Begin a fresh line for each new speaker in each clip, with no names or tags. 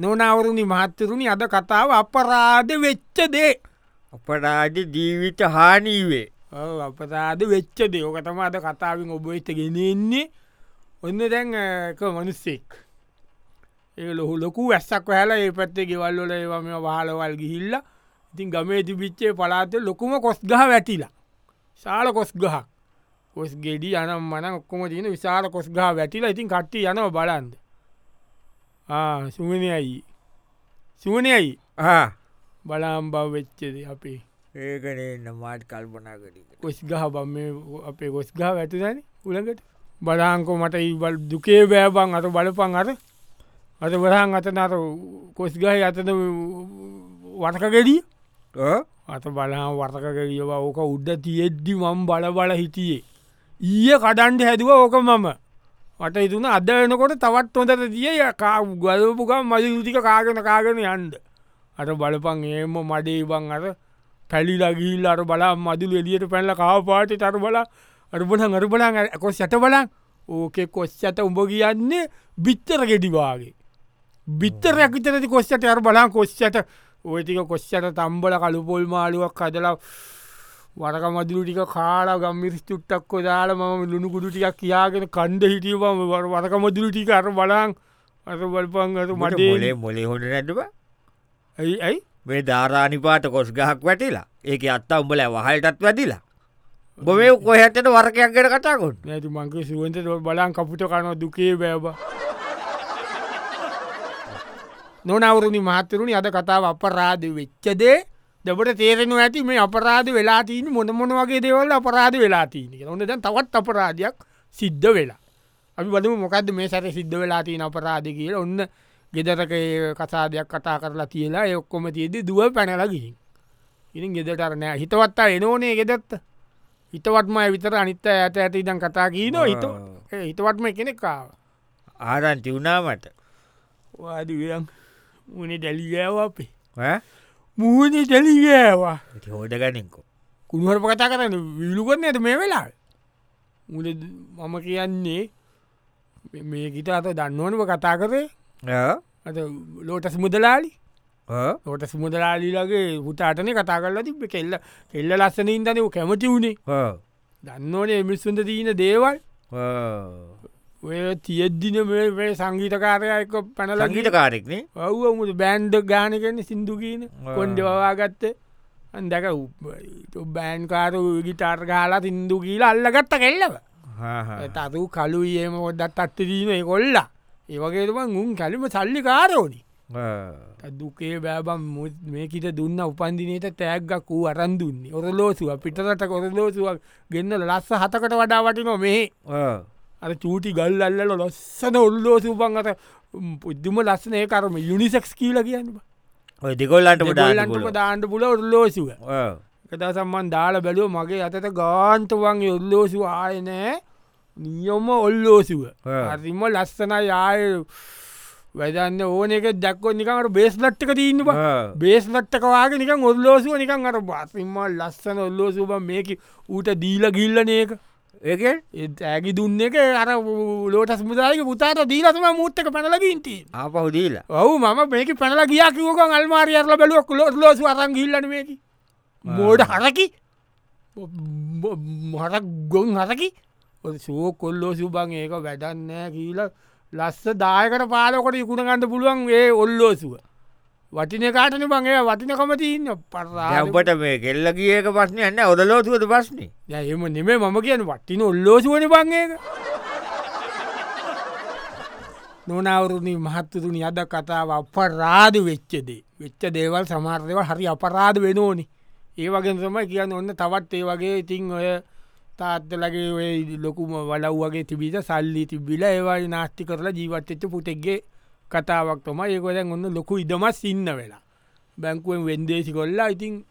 නොනවරුණි මහත්තරුණි අද කතාව අපරාධ වෙච්චදේ
අපරාජ ජීවිත හානීවේ
අපරාධ වෙච්ච දයෝකතම අද කතාවෙන් ඔබයිත ගෙනෙන්නේ ඔන්න දැන් අ, එක මනුස්සෙක් ඒ ලොහු ලොකු වැස්සක් හල ඒ පත්තේ ගෙවල්ලොල ඒවම වාලවල් ගිහිල්ල ඉතින් ගමේ තිබිච්චේ පලාත ලොකුම කොස්ගහ වැටිලා ශාල කොස්ගහ කොස් ගෙඩි යනම් මන ඔක්කොම තියෙන විශාල කොස්ගහ වැටිලා ඉතින් කට්ටි යනව බලන්ද සුවනයයි සුවනයයි බලාම් බව වෙච්චද අපේ
ඒකන මාත් කල්පනා කරික
කොස්ගහ බම් අපේ කොස්ගහ ඇතුදන උළඟට බලාංකෝ මට ඉවල් දුකේ බෑබන් අට බලපන් අර අට බරහන් අත නර කොස්ගහ අතන වටකගෙඩිය අත බලා වර්තකගෙලියව ඕක උඩ තියෙද්දි මම් බල බල හිටියේ ඊය කඩන්ඩ හැදුව ඕක මම වට ඉතුන අදනකොට තවත් හොඳට තිය ගලපුකම් මද යුතික කාගෙන කාගෙන යන්ඩ අට බලපන් ඒම මඩේ බං අර පැලි ලගිල් අර බලා මදුල් එලියට පැල්ල කාවපාට තර බලා අරබන අරබලා කොස් සැට බලන් ඕකෙ කොස් ඇත උඹ කියන්නේ බිත්තර ගෙඩිවාගේ බිත්තර ඇකිතරති කොස්්ට අර බලා කොස්්චට ඔයතික කොස්්චට තම්බල කළුපොල් මාලුවක් කදලා වරක මදුරු ටික කාලා ගම්මිරි චුට්ටක්කො දාලා මම ලුණුකුඩු ටිකක් කියාගෙන කණ්ඩ හිටියවම වරක මදුරු ටික අර බලාන් අර බලපංගතු මටේ
මටේ මොලේ හොට නැටබ
ඇයි ඇයි
මේ ධාරානිපාට කොස් ගහක් වැටිලා ඒක අත්තා උඹල වහල්ටත් වැදිලා බොම කොහැටට වර්කයක් ගැට කතාකොට
නැති මංකේ සුවන්ත බලන් කපුට කනවා දුකේ බෑබ නොනවරුණි මහත්තරුණි අද කතාව අපරාධ වෙච්චදේ දෙබට තේරෙනු ඇති මේ අපරාධ වෙලාතිීන මොනමොන වගේ දෙවල් අපරාධ වෙලාතිීනක ඔන්න දැන් තවත් අපරාධයක් සිද්ධ වෙලා අපි බදම මොකද මේ සැර සිද්ධ වෙලාතිීන අපරාධ කියල ඔන්න ගෙදරක ඒ කසාදයක් කතා කරලා තියලා ඒ ඔක්කොම තියේදී දුව පැනලගින් ඉතින් ගෙදටරනෑ හිතවත්තා එනෝනේ ගෙදත්ත හිතවත්ම විතර අනිත්ත ඇත ඇත ඉදන් කතා කීන හිත ඒ හිතවත්ම කෙනෙක්කාව
ආරංචි වුණාමට
වාදන් මන දැලිගෑව අපේ මූුණ දැලිගෑවා
හෝඩ ගනින්කෝ
කුණුවර කතා කරන්න විලුගන්න ඇත මේ වෙලා මුල මම කියන්නේ මේ- මේ ගිට අත දන්නවනව කතා කරේ අත ලෝටස් මුදලාලි ලෝටස් මුදලාලීලගේ පුතාටනය කතා කරලා තිබ කෙල්ල කෙල්ල ලස්සන ඉදනව කැමති වුණේ දන්නවනේ මිස්සුන්ට තියන දේවල් ඔය තියෙද්දින මේ සංගීතකාරයක පැනල
ලගීට කාරෙක්නේ
ඔව්ව මුට බෑන්්ඩ ගානකන්න සිින්දුකීන
ආ.
කොන්්ඩ වවාගත්ත අන්දක බෑන්කාර ගිටාර් ගාලා සිින්දු කියීලා අල්ලගත්ත කෙල්ලව තතු කලු ඒම ොඩත් අත්තදීම කොල්ලා ඒවගේතුමන් උන් කැලිම සල්ලි කාරෝනි දුකේ බෑබම් මුත් මේකට දුන්න උපන්දිනයට තෑග්ගක් වූ අරන් දුන්නේ ඔරලෝසුව පිටරට කොරලෝසුවක් ගෙන්න්න ලස්ස හතකට වඩා වටිනො මේ අර චූටි ගල් අල්ලල ලොස්සන ඔල්ලෝ සූපන් අත පුද්දුම ලස්සනය කරම යුනිසෙක්ස් කියීල කියන්න
ඔය දෙකොල්ලන්ට
ට
ඩාලගොල
දාන්ට පුල ඔල්ලෝසිව කතා සම්මන් දාල බැලුව මගේ අතට ගාන්තවන්ගේ ඔල්ලෝසිව ආයනෑ නියොම ඔල්ලෝසිව
ආ.
හරිම ලස්සන යාය වැදන්න ඕන එක දැක්කො නිකට බේස් ලට්ටක තිීන්නවා බේස් ලට්ටකවාගේ නිකන් ඔල්ලෝසුව නිකන් අර බාසිම්ම ලස්සන ඔල්ලෝසුබ මේක ඌට දීල ගිල්ලනයක
ඒක
ඒත් ඇගි දුන්න එක අර ලෝටස් මුදාලක පුතාට දීලතම මුත්තක පැනලගින්ටී
ආපහුදීලා
ඔවු මම මේක පැනල ගිය කිවක අල්මාරයරල බැලුවක් ලොස් ලෝස අරන් ගිල්ලනමකි මෝඩ හරකි හරක් ගොන් හරකි සෝ කොල්ලෝ සුබන් ඒක වැඩන්නෑ කියීල ලස්ස දායකට පාලකොට ඉකුණගන්න පුළුවන් ඒ ඔල්ලෝසුව වටින කාටන බංගේ වටිනකමතින්න පරාට
ඔබට මේ කෙල්ල කියක පස්නේ යන්න ඔදලෝතුවද පස්නේ
එම නෙමේ මම කියන වටින ඔල්ලෝසුවන බංගේක නොනවරුණි මහත්තතුනි අද කතාව අපරාධ වෙච්චදේ වෙච්ච දේවල් සමාර්ධව හරි අපරාධ වෙන ඕනි ඒවගෙන් සම කියන්න ඔන්න තවත් ඒ වගේ ඉතිං ඔය තාත්තලගේ ඔය ලොකුම වලව් වගේ තිබිට සල්ලි තිබිල ඒවල් නාස්ති කරලා ජීවත්තච්ච පුටෙක්ගේ කතාවක් තොම ඒකොදැන් ඔන්න ලොකු ඉඩමස් ඉන්න වෙලා බැංකුවෙන් වෙන්දේසි කොල්ලා ඉතින්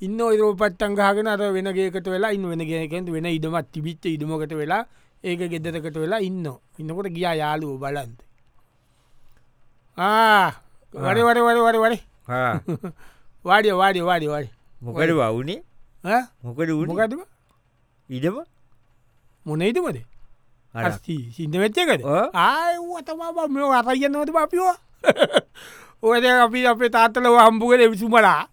ඉන්න ඔයරෝපත්තංගාගෙන අර වෙනගේකට වෙලා ඉන්න වෙනගෙනකෙන් වෙන ඉඩමත් තිබිච්ච ඉඩමකට වෙලා ඒක ගෙදරකට වෙලා ඉන්න ඉන්නකොට ගියා යාලුව බලන්ද වඩ වඩ වඩ වඩ වඩ වාඩිය වාඩිය වාඩි වඩ
මොකද වවුනේ මොකද වුණ
මොකටම
ඉඩම
මොනේතුමද
අර.
සිින්ද වෙච්චකට
ඔව්.
ආයතම මේ අරයන්නවට පපියෝ ඕකද අපි අපේ තාත්තලව හම්බුගෙන විසුමලා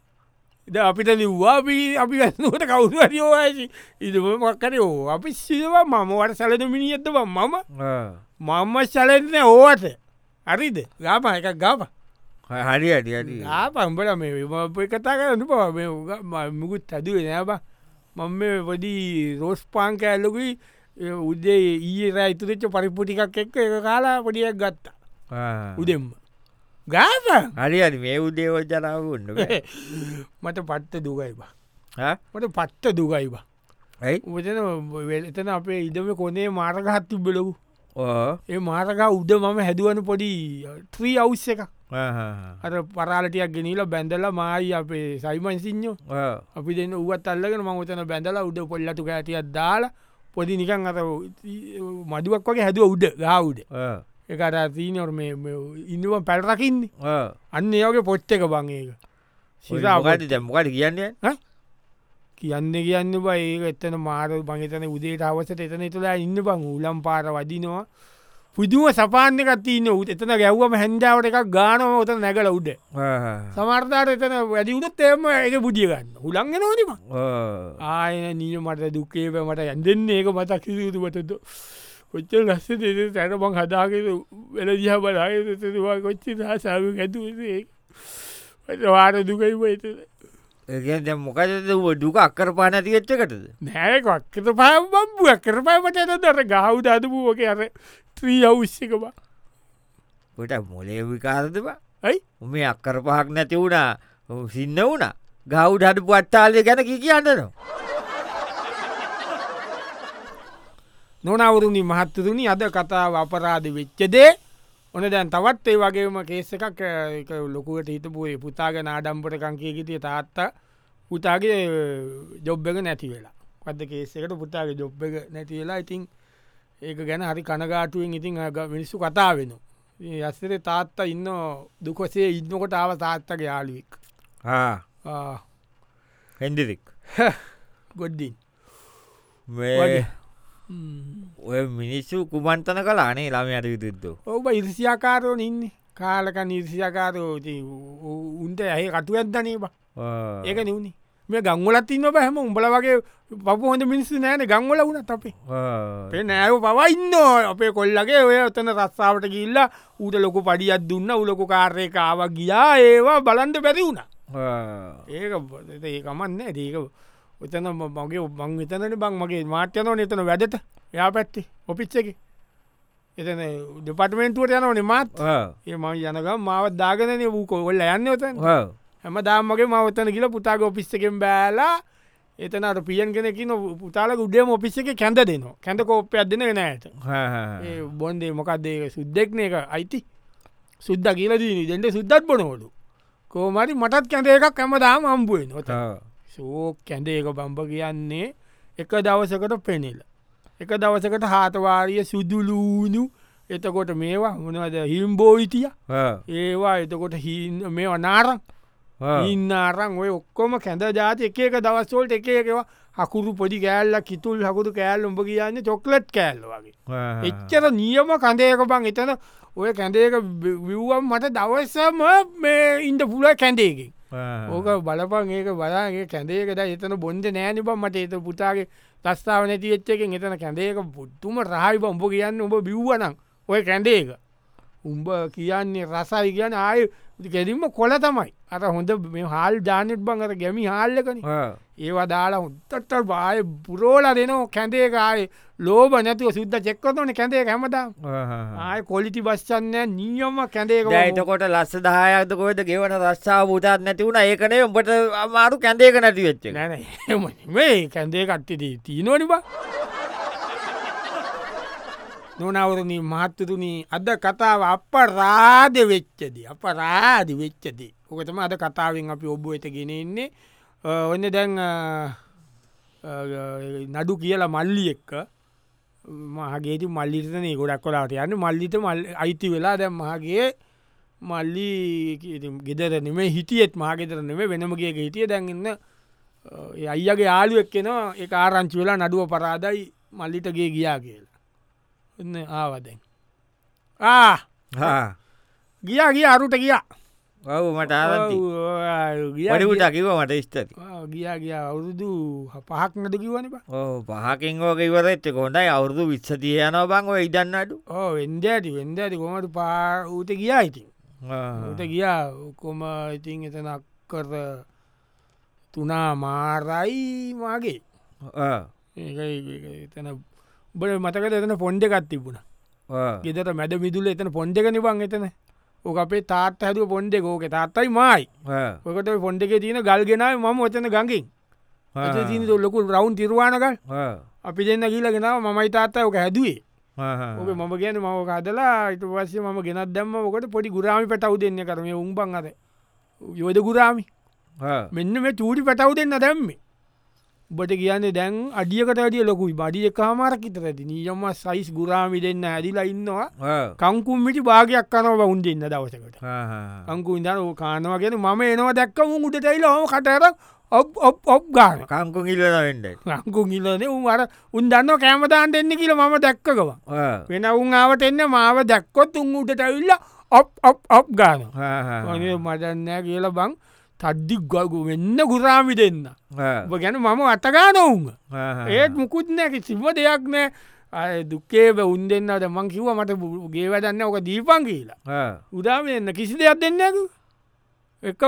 ද අපිට ලිව්වා අපි අපි ගනුවට කවුරුවරි ඕයසි ඉදමක්කර ඕ අපි සිව මමවට සැලන මිනිියත්ත මම මම සැලෙන්න ඕවත හරිද ගාප එක ගාප
හරි අඩි අඩි
ආපම්බල මේ විමප කතා කරන්න පවා මුකුත් හැදුවේ නෑබ මම මේ පොඩි රෝස් පාන් කෑල්ලකුයි උදේ ඊයේ රැයිතුරච්ච පරිපපුටිකක් එක්ක එක කාලා පොඩියක් ගත්තා උදෙම්ම ගාප
හරි අඩි මේ උදේව ජනාව උන්න බෑ.
මට පත්ත දුගයිබා
හා?
මට පත්ත දුගයිබා
ඇයි
උතන වෙලතන අපේ ඉදම කොනේ මාරගහත් තිබ්බලකු
ඕ
ඒ මාරක උද මම හැදුවන පොඩි ත්‍රී අවුස්ස එක අර පරාලටයක් ගෙනීල බැඳල මයි අපේ සයිමන් සිං්ඥෝ අපි දෙන්න උවත් අල්ලගෙන මංගතන බැඳල උඩ පොල්ලතු ඇතියක් දාලා පොඩි නිකන් අත මදුවක් වගේ හැදුව උඩ ගෞඩ එක අර සීනොර් ඉන්නුව පැල්රකින්නේ අන්න ඒගේ පොච්ච එක බං ඒක සිරා
ගට දැම්මකට කියන්නේ
කියන්න කියන්න බ ඒක එත්තන මාර බංගතන උදේ අවසට එතන තුලා ඉන්න බං උලම් පාර වදිනවා පුදුව සපාන්නක තියන්න උත් එතන ගැව්වම හැන්ඩාවට එකක් ගානව ත නැකල උඩ සමර්තාට එතන වැඩි උුත් එම එක පුදියගන්න උලන්ග නොනිම ආයන නීජ මට දුක්කේප මට ඇන්දෙන්න ඒක මතක් කිසිතුමටද කොච්ච ලස්ස දෙ සැන බං හදාගෙන වෙල දිහ බලාගවා කොච්චි හ සැම ඇතු වාර දුකයිම එතද
ඒගැ මොකද දුක අක්කර පාන තියච්චකටද
නෑ කොක්කත පහම්බම්බුව කරපයමට ඇන දර ගහුද අදපු ෝක අර ත්‍රී අවුෂ්‍යකම
පොට මොලේ විකාරදම
ඇයි?
මේ අක්කර පහක් නැති වුණා සින්න වුණ ගෞඩ හඩු පට්ටාලය ගැන කි කියන්නනවා
නොනවරුණි මහත්තතුනි අද කතාව අපරාධ වෙච්චදේ ඕන දැන් තවත් ඒ වගේම කේස එකක් අ, ඒක ලොකුවට හිතපුේ පුතාගෙන ආඩම්පට කංකයකිතිය තාත්තා පුතාගේ ජොබ් එක නැති වෙලා පද කේසකට පුතාගේ ජොබ් එක නැති වෙලා ඉතින් ඒක ගැන හරි කනගාටුවෙන් ඉතින් අ, ග- මිනිස්සු කතා වෙන ඇස්සරේ තාත්තා ඉන්න දුකොසේ ඉන්නකොට ආව තාත්තගේ යාලුවෙක්
හෙන්ඩිරික්
ගොඩ්ඩින්
මේ
වගේ.
ඔය මිනිස්සු කුමන්තන කලානේ ළම අට යුතුත්තු
ඔබ ඉරිසියාකාරෝන ඉන්න කාලක නිර්සියාකාරෝ උන්ට ඇහ කටු ඇත්දනේබ ඒක නිවුණ මේ ගංගලත් ඉන්න බැහම උඹල වගේ පපු හොඳ මිනිස්සු නෑන ගංගල වුණත් අපේ අපේ නෑව පවයින්න අපේ කොල්ලගේ ඔය ඔතන රස්සාාවට ගිල්ල ඌට ලොකු පඩියත් දුන්න උලොකු කාර්යකාව ගියා ඒවා බලන්ට බැරි වුණ ඒක බ- ඒ ඒකමන්න ඒක ඔතන ම- මගේ බං විතනට බං මගේ මාට්‍යනෝ නතන වැඩට යා පැත්තේ ඔපිච්චක එතන දෙපටමෙන්ටුවට යනවනේ මාත් ඒ ම යනකම් මාවත් දාගනය වූ කොල්ල යන්න ඔතන් හැම දාමගේ මවත්තන කියල පුතාග ඔපිස්සකෙන් බෑලා එතන අර පියන් කෙනෙක නො පුතාලක උඩේ ඔපිස්ස එක කැඳ දෙනවා කැඳ කෝප්පයක් දෙන වෙන ඇත ඒ බොන්දේ මොකක්දේ සුද්දෙක්න එක අයිති සුද්ද කියලදී දෙට සුද්දත් බොනෝලු කෝමරි මටත් කැඳ එකක් හැම දාම අම්බුවෙන් ොත සෝක් කැඳ ඒක බම්බ කියන්නේ එක දවසකට පෙනෙල එක දවසකට හාතවාරිය සුදුලූනු එතකොට මේවා මොනවද හිම්බෝයිතිය ඒවා එතකොට හි මේ වනාරං ඉන්න අරං ඔය ඔක්කොම කැඳ ජාති එක එක දවස්වෝල්ට එක එකවා හකුරු පොඩි කෑල්ල කිතුල් හකුරු කෑල් උඹ කියන්න චොක්ලට් කෑල්ල වගේ එච්චර නියම කඳයක බං එතන ඔය කැඳයක විව්වම් මට දවස්සම මේ ඉන්ඩ පුල කැඳේකින් ඕක බලපන් ඒක බලාගේ කැඳේකට එතන බොන්ද නෑනි බම් මට එත පුතාගේ තස්ථාව නැති එච්චකෙන් එතන කැඳේක පුට්තුම රහයි බම්ඹ කියන්න උඹ බිව්වනං ඔය කැඳේක උඹ කියන්නේ රසයි කියන්න ආය ගැරින්ම කොල තමයි අර හොඳ මේ හාල් ජානෙට් බං අර ගැමි හාල්ලකන ඒවා දාලා හොත්තට බාය පුරෝල දෙනෝ කැඳේකාය ලෝබ නැතුව සුද්ද චෙක්කොතන කැඳේ හැමදම් ආය කොලිටි බස්්චන්න නියම කැඳේක
දැයිතකොට ලස්ස දායක්ත කොයිද ගෙවන රස්සාාව පුතාත් නැති වුණ ඒකනේ උඹට අමාරු කැන්දේක නැති වෙච්ච
මේ කැන්දේ කට්ටිදී තිීනොනිබ නොනවරණ මහත්තතුනී අද කතාව අප රාධ වෙච්චදී අප රාධි වෙච්චදී ඕකතම අද කතාවෙන් අපි ඔබ්බ ඇත ගෙනෙන්නේ අ, ඔන්න දැන් අ, අ, නඩු කියලා මල්ලි එක්ක මහගේති මල්ලිතන ගොඩක් කොලාට යන්න මල්ලිත මල් අයිති වෙලා දැම් මහගේ මල්ලි ගෙදර නෙමේ හිටියත් මාගෙතර නෙමේ වෙනමගේ හිටිය දැන්ගන්න ඒ අයියගේ යාලුවක්කෙන ඒ ආරංචි වෙලා නඩුව පරාදයි මල්ලිටගේ ගියා කියලා එන්න ආවදැන් ආ ගියා ගිය අරුට ගියා
ඔව මට ආරන්ති
ගිය
පඩිකුට කිව මට ස්තති
ගියා ගියා අවුරුදු හ- පහක් නද කිවන බා
ඕ පහකින් ෝක ඉවරච්ච කොටයි අවුරදු විස්සතිය යන බං ඔය ඉදන්නඩු
ඕ වෙන්ද ඇති වෙන්ද ඇති කොමට පා ඌත ගියා ඉතින් ඌත ගියා කොම ඉතින් එතනක් කර තුනා මාරයි මාගේ ඒ එතන බල මතකට එතන පොන්්ඩ එකත් තිබුණ
Ah.
ගෙදර මැද මිදුල එතන පොන්්ඩ එක නිබං එතන ඕක අපේ තාත් හැදුව පොන්්ඩ එකෝක තාත්තයි මයි ඔකට පොන්්ඩ එක තියන ගල් ගෙනාව මම ඔතන ගඟින්
Ah.
තින ලොකු රවුන් තිරවාණකල් අපි දෙන්න කියලා ගෙනාව මයි තාත්තා ඕක හැදුවේ
Ah.
ඕක මම කියන මම කදලා ඉට පස්සේ මම ගෙනත් දැම්ම කට පොඩි ගුරාමි පැටව් දෙන්න කරම උම්බන් අද යෝධ ගුරාමි මෙන්න මේ චූටි පැටව් දෙන්න දැම්මේ උබට කියන්නේ දැන් අඩියකට අඩිය ලොකුයි බඩිය කාමාරකිත ඇති නියම සයිස් ගුරාමි දෙන්න ඇදිලා ඉන්නවා කංකුම්මිටි භාගයක් කනව වුන් දෙන්න දවසකට කංකු ඉදන කානවා කියෙන මම එනවා දැක්ක උන් උට ටයිල හම කටර ඔප් ඔප් ඔප් ගාන
කංකු ඉල්ලවෙඩ
කංකු ගිලනේ උන් අර උන් දන්න කෑමදාන් දෙන්න කියල මම දැක්කවා වෙන උන් ආවට එන්න මාව දැක්කොත් උන් උට ඇවිල්ල ඔප් ඔප් ඔප් ගාන වගේ මදන්නෑ කියලා බං තද්දි ගගු වෙන්න ගුරාමි දෙන්න ඔබ ගැන මම අතගාන උන් ඒත් මුකුත් නෑ කිසිම දෙයක් නෑ අය දුක්කේ උන් දෙන්නට මං කිව මට බු- ගේ වැඩන්න ඕක දීපන් කියලා උදාම එන්න කිසි දෙයක් දෙන්නක එක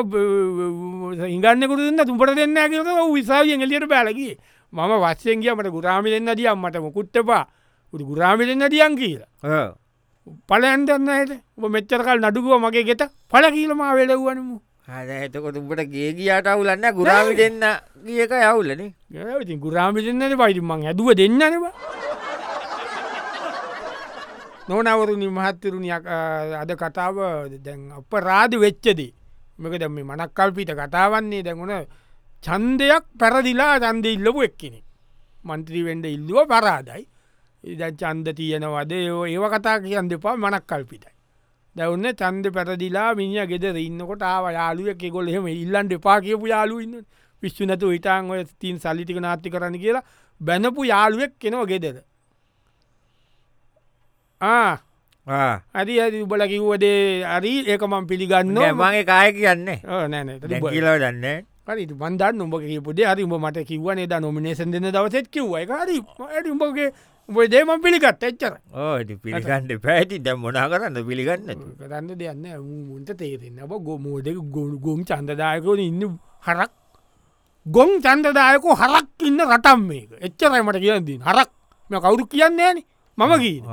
ඉගන්නකුට දෙන්න තුපට දෙන්න කියල විසාගෙන් එලියට බැලකි මම වස්සයෙන් කිය මට ගුරාමි දෙන්න දියම් මට මොකුත්තපා උට ගුරාමි දෙන්න දියන් කියලා පලයන්ටන්න ඇයට මෙච්චර කල් නඩුකුව මගේ ගෙත පල කියීලමා වෙලවුවනමු
හද එතකොට උඹට ගේ කියට අවුලන්න ගුරාමි දෙන්න ගියක යවුලන
ඉතින් ගුරාමි දෙන්නට පයිතිමං ඇදුව දෙන්නනවා නොනවරුණි මහත්තරුණ අද කතාව දැන් අප රාධ වෙච්චදී මක දැම මනක් කල්පිට කතාවන්නේ දැඟුණ චන්දයක් පැරදිලා චන්ද ඉල්ලපු එක්කෙනෙ මන්ත්‍රීවෙන්ඩ ඉල්ලුව පරාදයි ඉදන් චන්ද තියනවද ඒවා- ඒව කතා කියන්න දෙපා මනක් කල්පිටයි දැවන්න චන්ද පැරදිලා මිනිිය ගෙදර ඉන්නකොට ආව යාලුව කෙකොල් එහෙම ඉල්ලන් දෙපා කියපු යාලු ඉන්න විශ්ු නැතු ඉතාන් ඔය තින් සල්ලිතික නාති කරන කියලා බැනපු යාළුවෙක් කෙනව ගෙදර ආ හරි ඇති උබල කිව්වදේ අරි ඒක මං පිළිගන්න
මගේ කාය කියන්නේ
නෑන
දැකිලව දන්න
හරි බන්ධන්න උඹ කියපුදේ හරි උඹ මට කිව්වන එදා නොමිනේසන් දෙන්න දවසෙත් කිව්වයි හරි ඇඩි උඹගේ උබදේ මං පිළිගත් එච්චර
ඕ පිළිගන්න පැති දැම් මොනා කරන්න පිළිගන්න
කරන්න දෙයන්න මුන්ට තේරෙන්න අප ගොමෝදක ගොලු ගොම් චන්දදායකවන ඉන්න හරක් ගොම් චන්දදායකෝ හරක් ඉන්න රටම් මේක එච්චරයි මට කියදී හරක් මෙ කවුරු කියන්නේ න මම කියන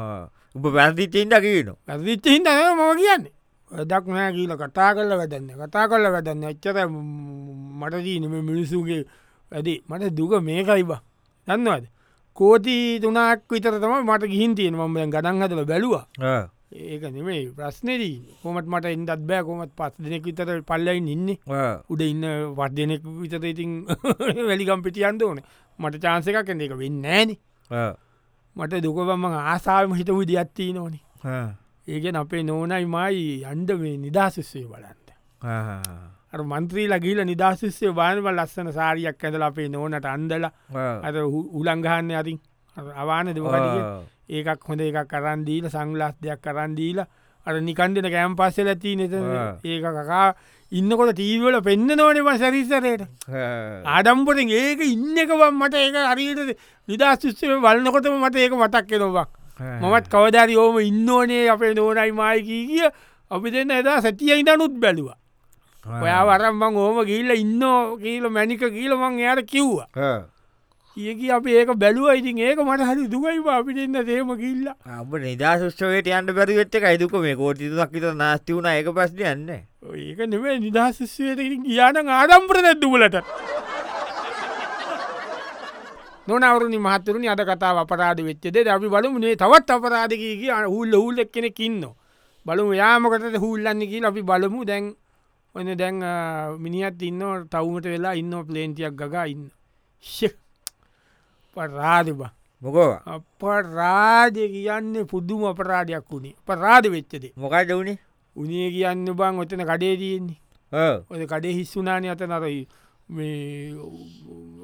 උඹ පැතිතින්ට කියීන
ඇදිච්ච හිද මම කියන්නේ වැඩක් නෑ කියල කතා කරල වැදන්න කතා කරල වැදන්න එච්චර මට දීනම මිනිසුගේ ඇදේ මට දුක මේකයිබා දන්නවද කෝති තුනක් විතර තම මට ගිහින් තියෙන ම ගඩන් හදල බැලවා ඒක නෙමේ ප්‍රශ්නෙදී කොමට මට එන්දත් බෑ කොමත් පස් දෙනෙක් විතර පල්ලයි ඉන්නේ උඩ ඉන්න වත් දෙනෙක් විතර ඉතින් වැලිකම් පිටියන්ද ඕන මට චාන්ස එකක් එන්න එක වෙන්න ෑන මට දුකවම ආසාම හිත විදිහත්තිී නොනි ඒගෙන් අපේ නෝනයි මයි අන්ඩ මේ නිදහසිස්සේ බලන්ට අර මන්ත්‍රී ලගීල නිදහසිස්සේ බානවල් ලස්සන සාරියක් ඇඳල අපේ නෝනට අන්දල අද උලංගහන්න අතින් අවාන දෙමකටිය ඒකක් හොඳ එකක් කරන්දීල සංගලස් දෙයක් කරන්දීල අර නිකන්ඩෙන කෑම් පස්සෙල ඇති නෙත
ආ.
ඒක කකා ඉන්නකොට තීවල පෙන්න්න නොනවා සැරිසරයට ආඩම්පොරින් ඒක ඉන්න එකවම් මට ඒක හරියට නිදස්ශිෂ්‍යය වලන්නකොටම මට ඒක මතක් කෙනවා මමත් කවදරි ඕම ඉන්නෝනේ අපේ නෝනයි මායකී කිය අපි දෙන්න එදා සැතිය ඉඳනුත් බැලවා ඔයා වරම්බං ඕම ගිල්ල ඉන්නෝ කියීල මැනික කියීලමං එයට කිව්වා කියකි අප ඒක බැලුව ඉතින් ඒක මට හරි දුකයිවා අපි දෙන්න දේම කිල්ල
අප නිදා ශෂ්ටවට යන්ට පැරිවෙච්ච එකයිතුක මේ කෝටිතුක් ත නාස්ති වුණ එක පස්ට යන්න
ඒක නෙවේ නිදහශිෂ්‍යයට කියන ආඩම්පර නැද්දුවලට නොනවරුණනි මහතුරුණනි අද කතා අපරාධ වෙච්චද අපි බලමුණේ තවත් අපරාධකී අ හුල්ල හුල්ලක් කෙනෙ කින්න. බලමු යාමකට හුල්ලන්නකි අපි බලමු දැන් ඔන්න දැන් අ, මිනිහත් ඉන්න තවමට වෙලා ඉන්න ප්ලේන්තියක් ගගා ඉන්න. පරාධබා.
මොකෝ
අප රාජ කියන්න පුද්දුම අපරාධයක් වුණේ පරාධ වෙච්චදේ.
මොකයිට වුණේ
උනේ කියන්න බං ඔතන කඩේ තියෙන්නේ ඔය කඩේ හිස්සුනාන අත නරයි මේ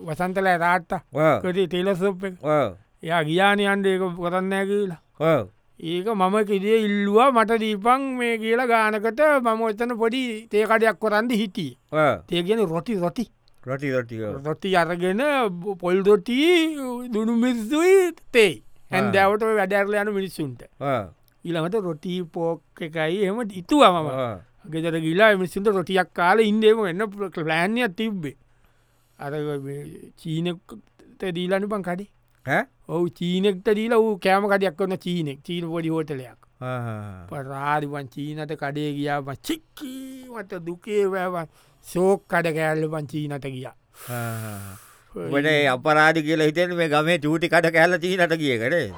වසන්තලය රාට්ට කටේ ටෙලසොප් එක යා ගියානි අන්ඩ ඒක කොතන්න කියලා ඒක මම කිදේ ඉල්ලවා මට දීපන් මේ කියලා ගානකට මම එතන පොඩි තේකඩයක් කොරන්ද හිටිය තේගෙන රොටි රොටි
රොටි රොටිය
රොටි අරගෙන පොල් රොටි දුනු මිස්සුයි තේ හැන්දෑවට ඔය වැඩැරල යන මිනිස්සුන්ට ඉළඟට රොටී පෝක් එකයි එම ඉතුවම ගෙදර ගිලා මිනිස්සුන්ට රොටියක් කාල ඉන්දේම එන්න ප්ලෑන්යක් තිබ්බේ අර චීනට දීලනු පන් කඩේ ඔහු චීනෙක්ට දීල වූ කෑම කඩයක් වන්න චීනෙක් චීන පොඩි හෝටලයක් පරාරිවන් චීනට කඩේ ගියා චික්කීමට දුකේවෑවන් සෝක් කඩ කෑල්ලපන් චීනට ගියා
වැඩේ අපරාධි කියලා හිතෙන මේ ගමේ චූටි කට කැල්ල තිීනට කියකරේ